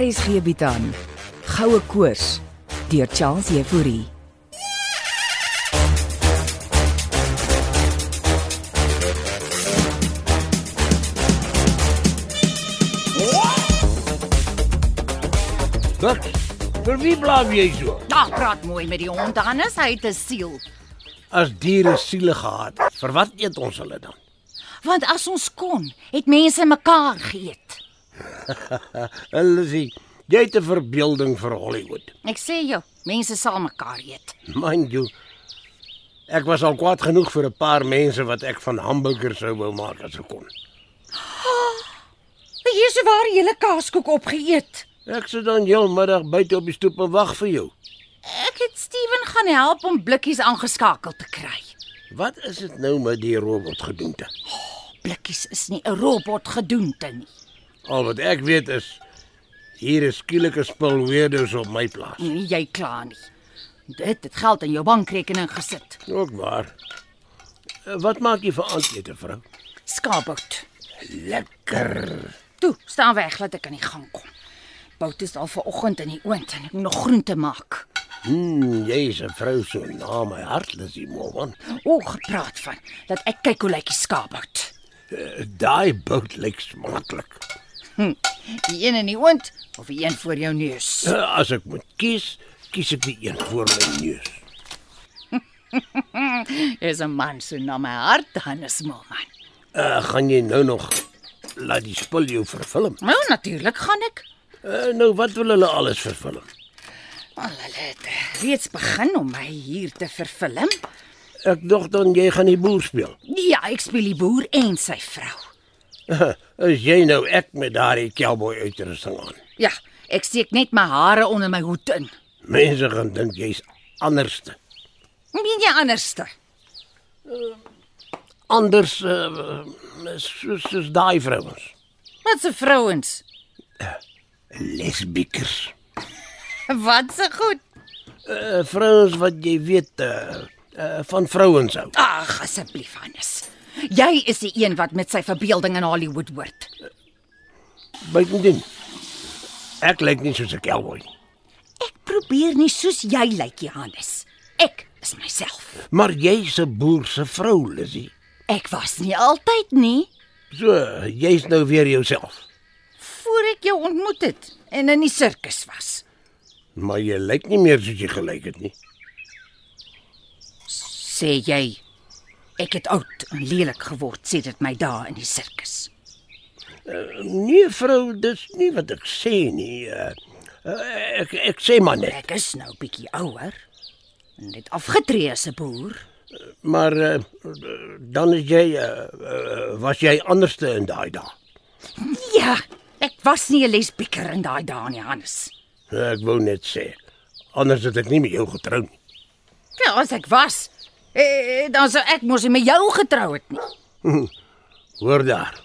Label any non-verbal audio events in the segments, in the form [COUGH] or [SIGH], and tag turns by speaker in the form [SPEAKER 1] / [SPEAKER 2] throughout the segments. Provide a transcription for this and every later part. [SPEAKER 1] RSG bied aan Goue Koors deur Charles Euphorie.
[SPEAKER 2] Bert, vir wie blaaf jy so?
[SPEAKER 3] Ag, praat mooi met die hond, anders hy te siel.
[SPEAKER 2] As diere siele gehad het, vir wat eet ons hulle dan?
[SPEAKER 3] Want as ons kon, het mense mekaar geëet.
[SPEAKER 2] Hulle sê jy het 'n verbeelding vir Hollywood.
[SPEAKER 3] Ek sê jou, mense sal mekaar eet.
[SPEAKER 2] Mind you, ek was al kwaad genoeg vir 'n paar mense wat ek van hamburgers sou wou maak as ek kon.
[SPEAKER 3] Maar hierse er waar jy hele kaaskoek opgeëet.
[SPEAKER 2] Ek sit dan heelmiddag buite op die stoep en wag vir jou.
[SPEAKER 3] Ek het Steven gaan help om blikkies aangeskakel te kry.
[SPEAKER 2] Wat is dit nou met die robot gedoente?
[SPEAKER 3] Blikkies is nie 'n robot gedoente nie.
[SPEAKER 2] Al wat ek weet is hier is skielike spul weerdoos op my plaas.
[SPEAKER 3] Nee, jy kla nie. Dit het geld in jou bankrekening gesit.
[SPEAKER 2] Ook waar. Eh, Wat maak jy vir aandete, vrou?
[SPEAKER 3] Skaapbout.
[SPEAKER 2] Lekker.
[SPEAKER 3] Toe, staan weg laat ek aan die gang kom. Bout is al vanoggend in die oond en ek moet nog groente maak.
[SPEAKER 2] Mm, jy's 'n vrou so na my hart, Lissy Moman.
[SPEAKER 3] O, Oh, gepraat van dat ek kyk hoe lyk die skaapbout.
[SPEAKER 2] Eh, Daai bout lyk smaaklik.
[SPEAKER 3] Die een in die oond of die een voor jou neus.
[SPEAKER 2] Eh, As ek moet kies, kies ek die een voor my neus.
[SPEAKER 3] Is 'n man so na my hart, Hannes Moelman.
[SPEAKER 2] Uh, gaan jy nou nog laat die spul jou vervilm?
[SPEAKER 3] Nou natuurlik gaan ek.
[SPEAKER 2] Uh, nou wat wil hulle alles vervilm?
[SPEAKER 3] Al hulle het eh, reeds begin om my hier te vervilm.
[SPEAKER 2] Ek dink dan jy gaan die boer speel. [LAUGHS]
[SPEAKER 3] Ja, ek speel die boer en sy vrou.
[SPEAKER 2] As jy nou ek met daardie cowboy uitrusting aan.
[SPEAKER 3] Ja, ek steek net my hare onder my hoed in.
[SPEAKER 2] Mense gaan dink jy's anderste.
[SPEAKER 3] Meen jy anderste?
[SPEAKER 2] Anders uh, soos soos daai vrouens.
[SPEAKER 3] Wat se vrouens?
[SPEAKER 2] Lesbiekers.
[SPEAKER 3] Wat se goed.
[SPEAKER 2] Uh, vrouens wat jy weet uh, uh, van vrouens hou.
[SPEAKER 3] Ag, asseblief Hannes. Jy is die een wat met sy verbeelding in Hollywood hoort.
[SPEAKER 2] Buitendien. Ek lyk nie soos 'n cowboy nie,
[SPEAKER 3] Ek probeer nie soos jy lyk, Johannes. Ek is myself.
[SPEAKER 2] maar jy's 'n boer se vrou, Lissy.
[SPEAKER 3] Ek was nie altyd nie
[SPEAKER 2] So, jy's nou weer jouself.
[SPEAKER 3] voor ek jou ontmoet het en in die sirkus was.
[SPEAKER 2] Maar jy lyk nie meer soos jy gelyk het nie.
[SPEAKER 3] Sê jy, ek het oud en lelik geword sedert my dae in die sirkus.
[SPEAKER 2] Nee, vrou, dis nie wat ek sê nie. Uh, uh, ek ek sê maar net.
[SPEAKER 3] Ek is nou bietjie ouer en het afgetree as 'n boer.
[SPEAKER 2] Maar uh, dan is jy uh, uh, was jy anderste in daai dae.
[SPEAKER 3] Ja, ek was nie 'n lesbieker in daai dae nie, Hannes.
[SPEAKER 2] Ek wou net sê anders het ek nie met jou getrou nie.
[SPEAKER 3] Ja, as ek was, eh, dan sou ek mos nie met jou getrou het nie.
[SPEAKER 2] Hoor daar.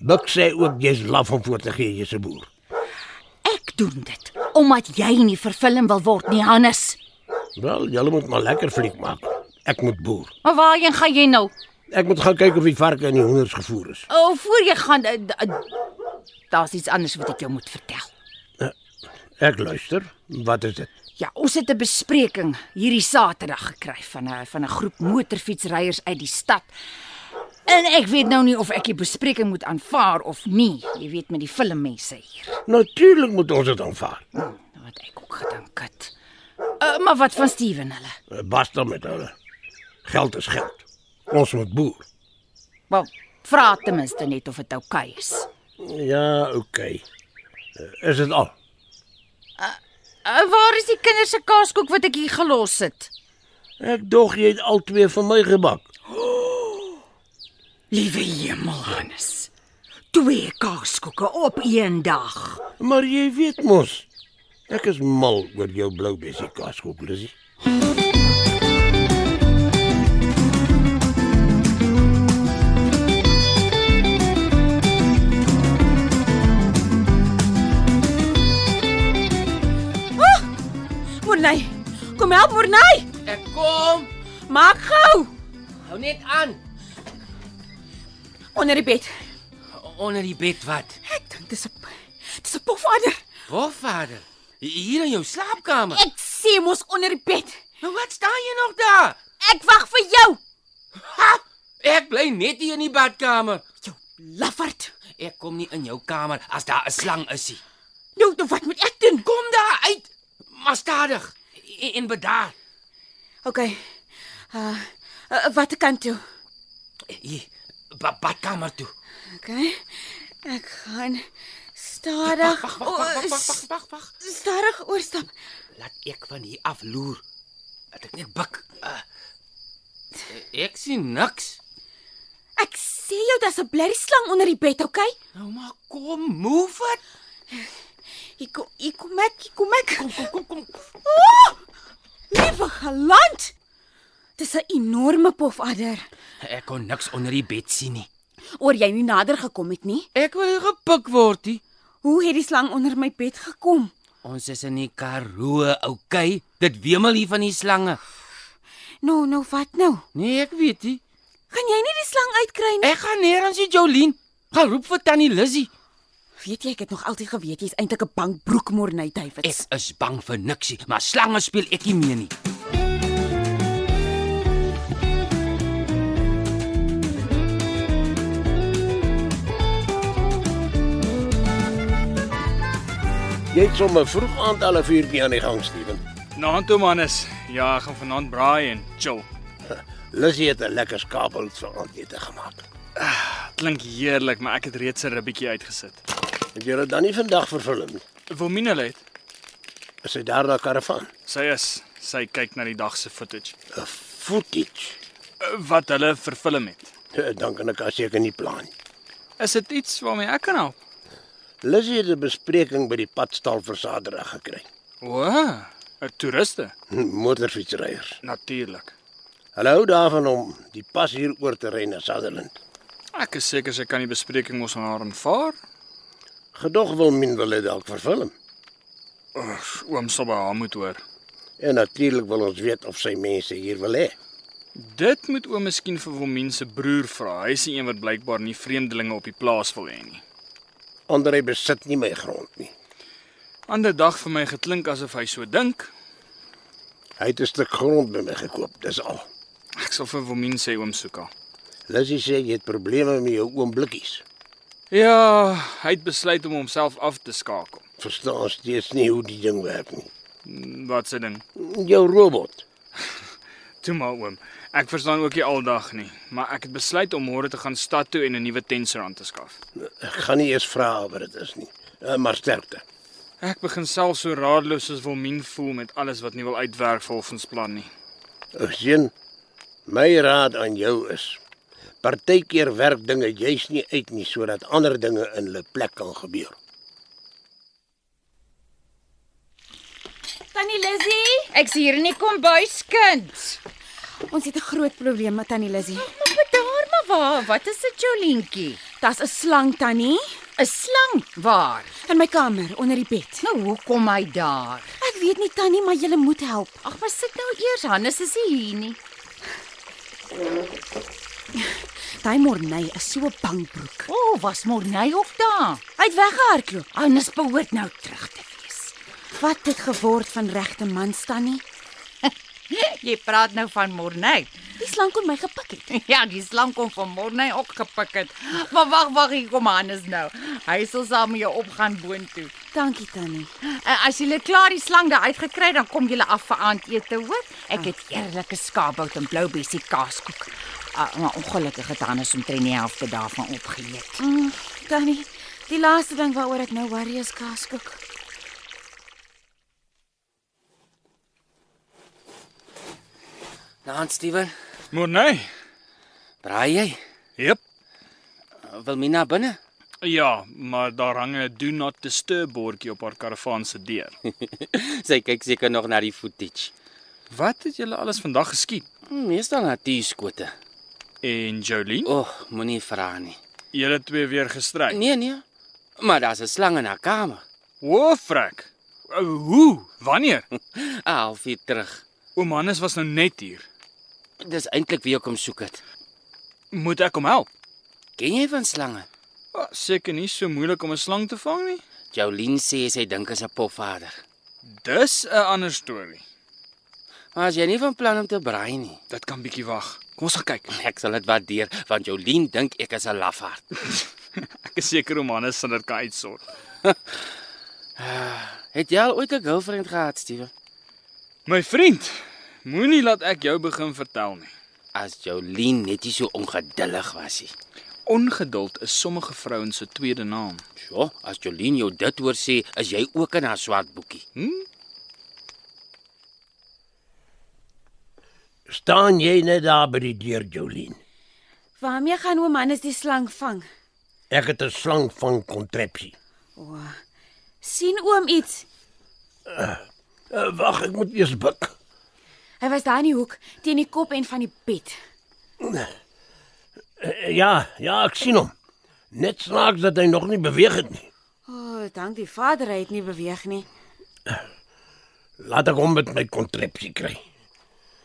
[SPEAKER 2] Buck sê ook jy's laf om voor te gee jy's 'n boer.
[SPEAKER 3] Ek doen dit omdat jy nie vervilm wil word nie, Hannes.
[SPEAKER 2] Wel, julle moet maar lekker fliek maak. Ek moet boer.
[SPEAKER 3] Maar waarheen gaan jy nou?
[SPEAKER 2] Ek moet gaan kyk of die varke en die hoenders gevoer is.
[SPEAKER 3] O, oh, voor jy gaan eh, d- eh, daar's iets anders wat ek jou moet vertel.
[SPEAKER 2] Ek luister. Wat is dit?
[SPEAKER 3] Ja, ons het 'n bespreking hierdie Saterdag gekry van 'n van 'n groep motorfietsryers uit die stad. En ek weet nou nie of ek die bespreking moet aanvaar of nie. Jy weet met die filmmense hier.
[SPEAKER 2] Natuurlik moet ons dit aanvaar.
[SPEAKER 3] Wat ek ook gedink het. Uh, maar wat van Steven hulle?
[SPEAKER 2] Basta met hulle. Geld is geld. Ons moet boer.
[SPEAKER 3] Wel, vra ten minste net of nou dit oukei okay is.
[SPEAKER 2] Ja, oké. Eh, Is dit al?
[SPEAKER 4] Eh,
[SPEAKER 3] Uh, waar is die kinders se kaaskoek wat ek hier gelos het?
[SPEAKER 2] Ek dog jy het al twee vir my gebak.
[SPEAKER 3] Liewe hemel, Hannes. Twee kaaskoeke op een dag.
[SPEAKER 2] Maar jy weet mos, ek is mal oor jou blou bessie kaaskoek, Lissy.
[SPEAKER 4] Mornay. Kom help Mornay.
[SPEAKER 5] Ek kom.
[SPEAKER 4] Maak gou.
[SPEAKER 5] Hou net aan.
[SPEAKER 4] Onder die bed.
[SPEAKER 5] Onder die bed wat?
[SPEAKER 4] Ek dink dis 'n dis se pofadder.
[SPEAKER 5] Hofvader, hier in jou slaapkamer.
[SPEAKER 4] Ek sê mos onder die bed.
[SPEAKER 5] Nou wat staan jy nog daar?
[SPEAKER 4] Ek wag vir jou,
[SPEAKER 5] Ha! Ek bly net hier in die badkamer.
[SPEAKER 4] jou lafaard.
[SPEAKER 5] Ek kom nie in jou kamer as daar 'n slang is nie.
[SPEAKER 4] Nou, nou wat moet ek doen?
[SPEAKER 5] Kom daar uit. Maar stadig en, en bedaar.
[SPEAKER 4] OK. Uh, uh watter kant toe?
[SPEAKER 5] Hier, ba badkamer toe.
[SPEAKER 4] OK. Ek gaan stadig
[SPEAKER 5] Wag, wag, wag, wag, wag, wag, wag.
[SPEAKER 4] stadig oorstap.
[SPEAKER 5] Laat ek van hier af loer. Dat ek net buk. Uh, ek sien niks.
[SPEAKER 4] Ek sê jou daar's 'n blerrie slang onder die bed, OK?
[SPEAKER 5] Nou maar kom, move it.
[SPEAKER 4] Hier kom hier kom ek, hier kom ek.
[SPEAKER 5] Kom kom kom kom.
[SPEAKER 4] Liewe galant. Dis 'n enorme pofadder.
[SPEAKER 5] Ek kon niks onder die bed sien nie.
[SPEAKER 4] Oor jy nie nader gekom het nie.
[SPEAKER 5] Ek wil nie gepik word nie.
[SPEAKER 4] Hoe het die slang onder my bed gekom?
[SPEAKER 5] Ons is in die Karoo, okay? Dit wemel hier van die slange.
[SPEAKER 4] Nou, nou wat nou?
[SPEAKER 5] Nee, ek weet nie.
[SPEAKER 4] Gaan jy nie die slang uitkry nie?
[SPEAKER 5] Ek gaan nêrens sien Jolien. Gaan roep vir tannie Lizzy.
[SPEAKER 4] Weet jy ek het nog altyd geweet jy's eintlik 'n bankbroek Morney Davids.
[SPEAKER 5] Ek is bang vir niksie, maar slange speel ek nie mee nie.
[SPEAKER 2] Jy het sommer vroeg aand al 'n vuurtjie aan die gang, Steven.
[SPEAKER 6] Naand Nou, toe mannes. Ja, ek gaan vanaand braai en chill.
[SPEAKER 2] Lizzie het 'n lekker skabel vir aandete gemaak.
[SPEAKER 6] Klink heerlik, maar ek het reeds 'n ribbetjie uitgesit.
[SPEAKER 2] Het jy dit dan nie vandag vervul nie?
[SPEAKER 6] Wilmina het.
[SPEAKER 2] Is hy daar na karavaan?
[SPEAKER 6] Sy is sy kyk na die dag se footage
[SPEAKER 2] 'n Footage.
[SPEAKER 6] uh, wat hulle verfilm het.
[SPEAKER 2] Eh, Dan kan ek haar seker nie plan. nie.
[SPEAKER 6] Is dit iets waarmee ek kan help?
[SPEAKER 2] Lizzie het 'n bespreking by die padstal vir Saterdag gekry. Hm,
[SPEAKER 6] O, 'n toeriste.
[SPEAKER 2] Motorfietsryers.
[SPEAKER 6] Natuurlik.
[SPEAKER 2] Hulle hou daarvan om die pas hier oor te ry na Sutherland.
[SPEAKER 6] Ek is seker sy kan die bespreking mos aan haar aanvaar.
[SPEAKER 2] Gedog wil min wil dit dalk vervilm.
[SPEAKER 6] Oef, Oom sal by haar moet hoor.
[SPEAKER 2] En natuurlik wil ons weet of sy mense hier wil hê.
[SPEAKER 6] Dit moet oom miskien vir Wilmien se broer vra. Hy is die een wat blykbaar nie vreemdelinge op die plaas wil hê nie.
[SPEAKER 2] Andrei besit nie my grond nie.
[SPEAKER 6] Ander dag vir my geklink asof hy so dink.
[SPEAKER 2] Hy het 'n stuk grond by my gekoop, dis al.
[SPEAKER 6] Ek sal vir Wilmien sê oom soek haar.
[SPEAKER 2] Lizzie sê jy het probleme met jou oom Blikkies.
[SPEAKER 6] Ja, hy het besluit om homself af te skakel.
[SPEAKER 2] Verstaan steeds nie hoe die ding werk nie.
[SPEAKER 6] Mm, Wat se ding?
[SPEAKER 2] Jou robot.
[SPEAKER 6] Toe maar oom. Ek verstaan ook nie aldag nie, maar ek het besluit om môre te gaan stad toe en 'n nuwe tensor aan te skaf.
[SPEAKER 2] Ek gaan nie eers vra wat dit is nie. Eh, Maar sterkte.
[SPEAKER 6] Ek begin self so radeloos soos Wilmien voel met alles wat nie wil uitwerk volgens plan nie.
[SPEAKER 2] Ou seun, my raad aan jou is: partykeer werk dinge juis nie uit nie sodat ander dinge in hulle plek kan gebeur.
[SPEAKER 4] Tannie Lizzy,
[SPEAKER 3] Ek's hier in die kombuiskind.
[SPEAKER 4] ons het 'n groot probleem met Tannie Lizzy.
[SPEAKER 3] Maar bedaar maar waar, wat is dit Jolientjie?
[SPEAKER 4] Daar's 'n slang Tannie
[SPEAKER 3] 'n Slang waar?
[SPEAKER 4] in my kamer onder die bed.
[SPEAKER 3] Nou hoe kom hy daar?
[SPEAKER 4] Ek weet nie Tannie, maar jy moet help.
[SPEAKER 3] Ag, maar sit nou eers, Hannes is nie hier nie.
[SPEAKER 4] Daai Morney is so 'n bankbroek.
[SPEAKER 3] O, oh, was Morney op daar?
[SPEAKER 4] Hy het weggehardloop.
[SPEAKER 3] Hannes behoort nou terug te wees.
[SPEAKER 4] Wat het geword van regte man Tannie?
[SPEAKER 3] [LAUGHS] Jy praat nou van Morney. [LAUGHS]
[SPEAKER 4] Die slang kon my gepik het.
[SPEAKER 3] Ja, die slang kom van Morney ook gepik het. Maar wag, wag, hier kom Hannes nou. Hy sal saam met jou opgaan boontoe.
[SPEAKER 4] Dankie Tannie.
[SPEAKER 3] En Eh, as jy klaar die slang daar uitgekry het, dan kom jy af vir aandete, hoor? Ek het eerlike skaapbout en bloubessie kaaskoek. Uh, maar ongelukkig het Hannes omtrent die helfte daarvan opgeëet.
[SPEAKER 4] Mm, Tannie, die laaste ding waaroor ek nou worry is kaaskoek.
[SPEAKER 5] Naan Steven,
[SPEAKER 6] Maar nee.
[SPEAKER 5] braai jy?
[SPEAKER 6] Jep.
[SPEAKER 5] Wilmina binne.
[SPEAKER 6] Ja, maar daar hang 'n do not disturb bordjie op haar karavaan se deur.
[SPEAKER 5] Sy kyk seker nog na die footage.
[SPEAKER 6] Wat het julle alles vandag geskiet?
[SPEAKER 5] Hm, Meestal na teeskote.
[SPEAKER 6] En Jolien?
[SPEAKER 5] O, oh, moenie vra nie.
[SPEAKER 6] Julle twee weer gestry.
[SPEAKER 5] Nee nee. Maar daar's 'n slang in haar kamer.
[SPEAKER 6] O, frek. Hoe? Wanneer?
[SPEAKER 5] 'n Halfuur terug.
[SPEAKER 6] Oom Hannes was nou net hier.
[SPEAKER 5] Dis eintlik wie ek kom soek het.
[SPEAKER 6] Moet ek hom help?
[SPEAKER 5] Ken jy van slange?
[SPEAKER 6] Ah, Seker nie so moeilik om 'n slang te vang nie.
[SPEAKER 5] Jolien sê sy dink is 'n popvader.
[SPEAKER 6] Dis 'n ander storie.
[SPEAKER 5] Maar as jy nie van plan om te braai nie, [LAUGHS]
[SPEAKER 6] Dit kan bietjie wag. Kom ons gaan kyk. [LAUGHS]
[SPEAKER 5] ek sal dit waardeer want Jolien dink ek is 'n lafaard. [LAUGHS]
[SPEAKER 6] Ek is seker Romanus sal dit kan uitsort.
[SPEAKER 5] Het jy al ooit 'n girlfriend gehad, Steven?
[SPEAKER 6] My vriend, moenie laat ek jou begin vertel nie.
[SPEAKER 5] As Jolien net nie so ongeduldig was nie.
[SPEAKER 6] Ongeduld is sommige vrouens se tweede naam.
[SPEAKER 5] So, as Jolien jou dit hoor sê, is jy ook in haar swart boekie.
[SPEAKER 2] Staan jy net daar by die deur, Jolien?
[SPEAKER 4] Waarmee gaan oom Hannes die slang vang?
[SPEAKER 2] Ek het 'n slang van kontrepsie.
[SPEAKER 4] sien oom iets?
[SPEAKER 2] Uh, Wag, ek moet eers buig.
[SPEAKER 4] Hy was daar in die hoek teen die kop en van die bed.
[SPEAKER 2] Uh, ja, ja, ek sien hom. Net snaaks dat hy nog nie beweeg het nie.
[SPEAKER 4] O, oh, dank die Vader, hy het nie beweeg nie.
[SPEAKER 2] Laat ek hom met my kontrepsie kry.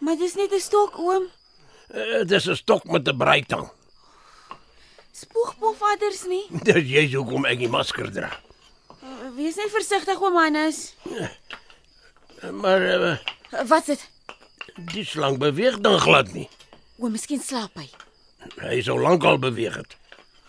[SPEAKER 4] Maar dis net 'n stok oom.
[SPEAKER 2] Uh, dis 'n stok met 'n braaitang.
[SPEAKER 4] Spoeg pofvaders nie.
[SPEAKER 2] [LAUGHS] Dis jy hoekom ek die masker dra.
[SPEAKER 4] Eh, Wees net versigtig oom Hannes.
[SPEAKER 2] Uh, Maar uh,
[SPEAKER 4] Eh, Wat's dit?
[SPEAKER 2] die slang beweeg dan glad nie.
[SPEAKER 4] Oom, miskien slaap hy.
[SPEAKER 2] Hy sou lankal beweeg het.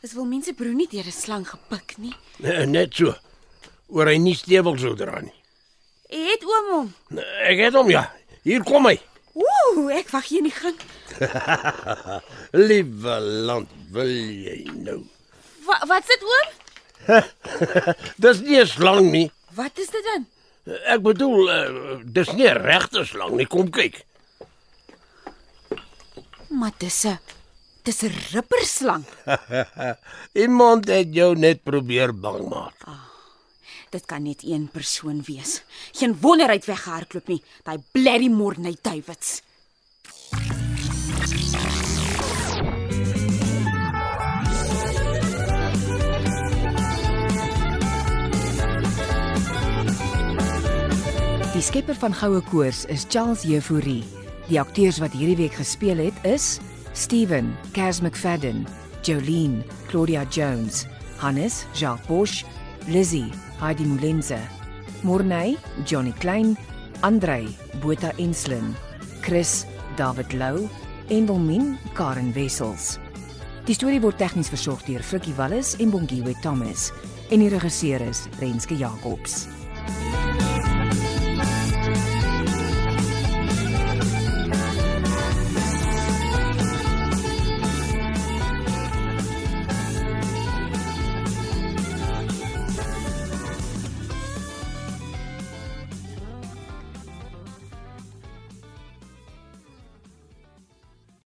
[SPEAKER 4] Dis wil mense broer nie deur 'n slang gepik nie.
[SPEAKER 2] Uh, net so. Oor hy nie stewel sou dra nie.
[SPEAKER 4] Het oom hom.
[SPEAKER 2] Uh, ek het hom ja. Hier kom hy.
[SPEAKER 4] Ooh, ek wag hier in die gang.
[SPEAKER 2] Liewe land, wil jy nou? Eh,
[SPEAKER 4] Wa wat's dit oom?
[SPEAKER 2] Dis nie 'n slang nie.
[SPEAKER 4] Wat is dit dan?
[SPEAKER 2] Ek bedoel, uh, dis nie 'n regte slang nie. Kom kyk.
[SPEAKER 4] Maar dis 'n dis 'n ripperslang.
[SPEAKER 2] Iemand het jou net probeer bang maak.
[SPEAKER 4] Dit kan net een persoon wees. Geen wonder hy het weggehardloop nie. Daai blerrie Morney Davids.
[SPEAKER 3] Die skepper van Goue Koors is Charles Jefouri. Die akteurs wat hierdie week gespeel het is Steven, Cas McFadden, Jolene, Claudia Jones, Hannes, Jacques Bosch, Lizzie, Heidi Molenze, Morney, Johnny Klein, Andrei, Botha Enslin, Chris, David Lou en Wilmin Karen Wessels. Die storie word tegnies versorg deur Frikkie Wallis en Bongwe Thomas en die regisseur is Renske Jacobs.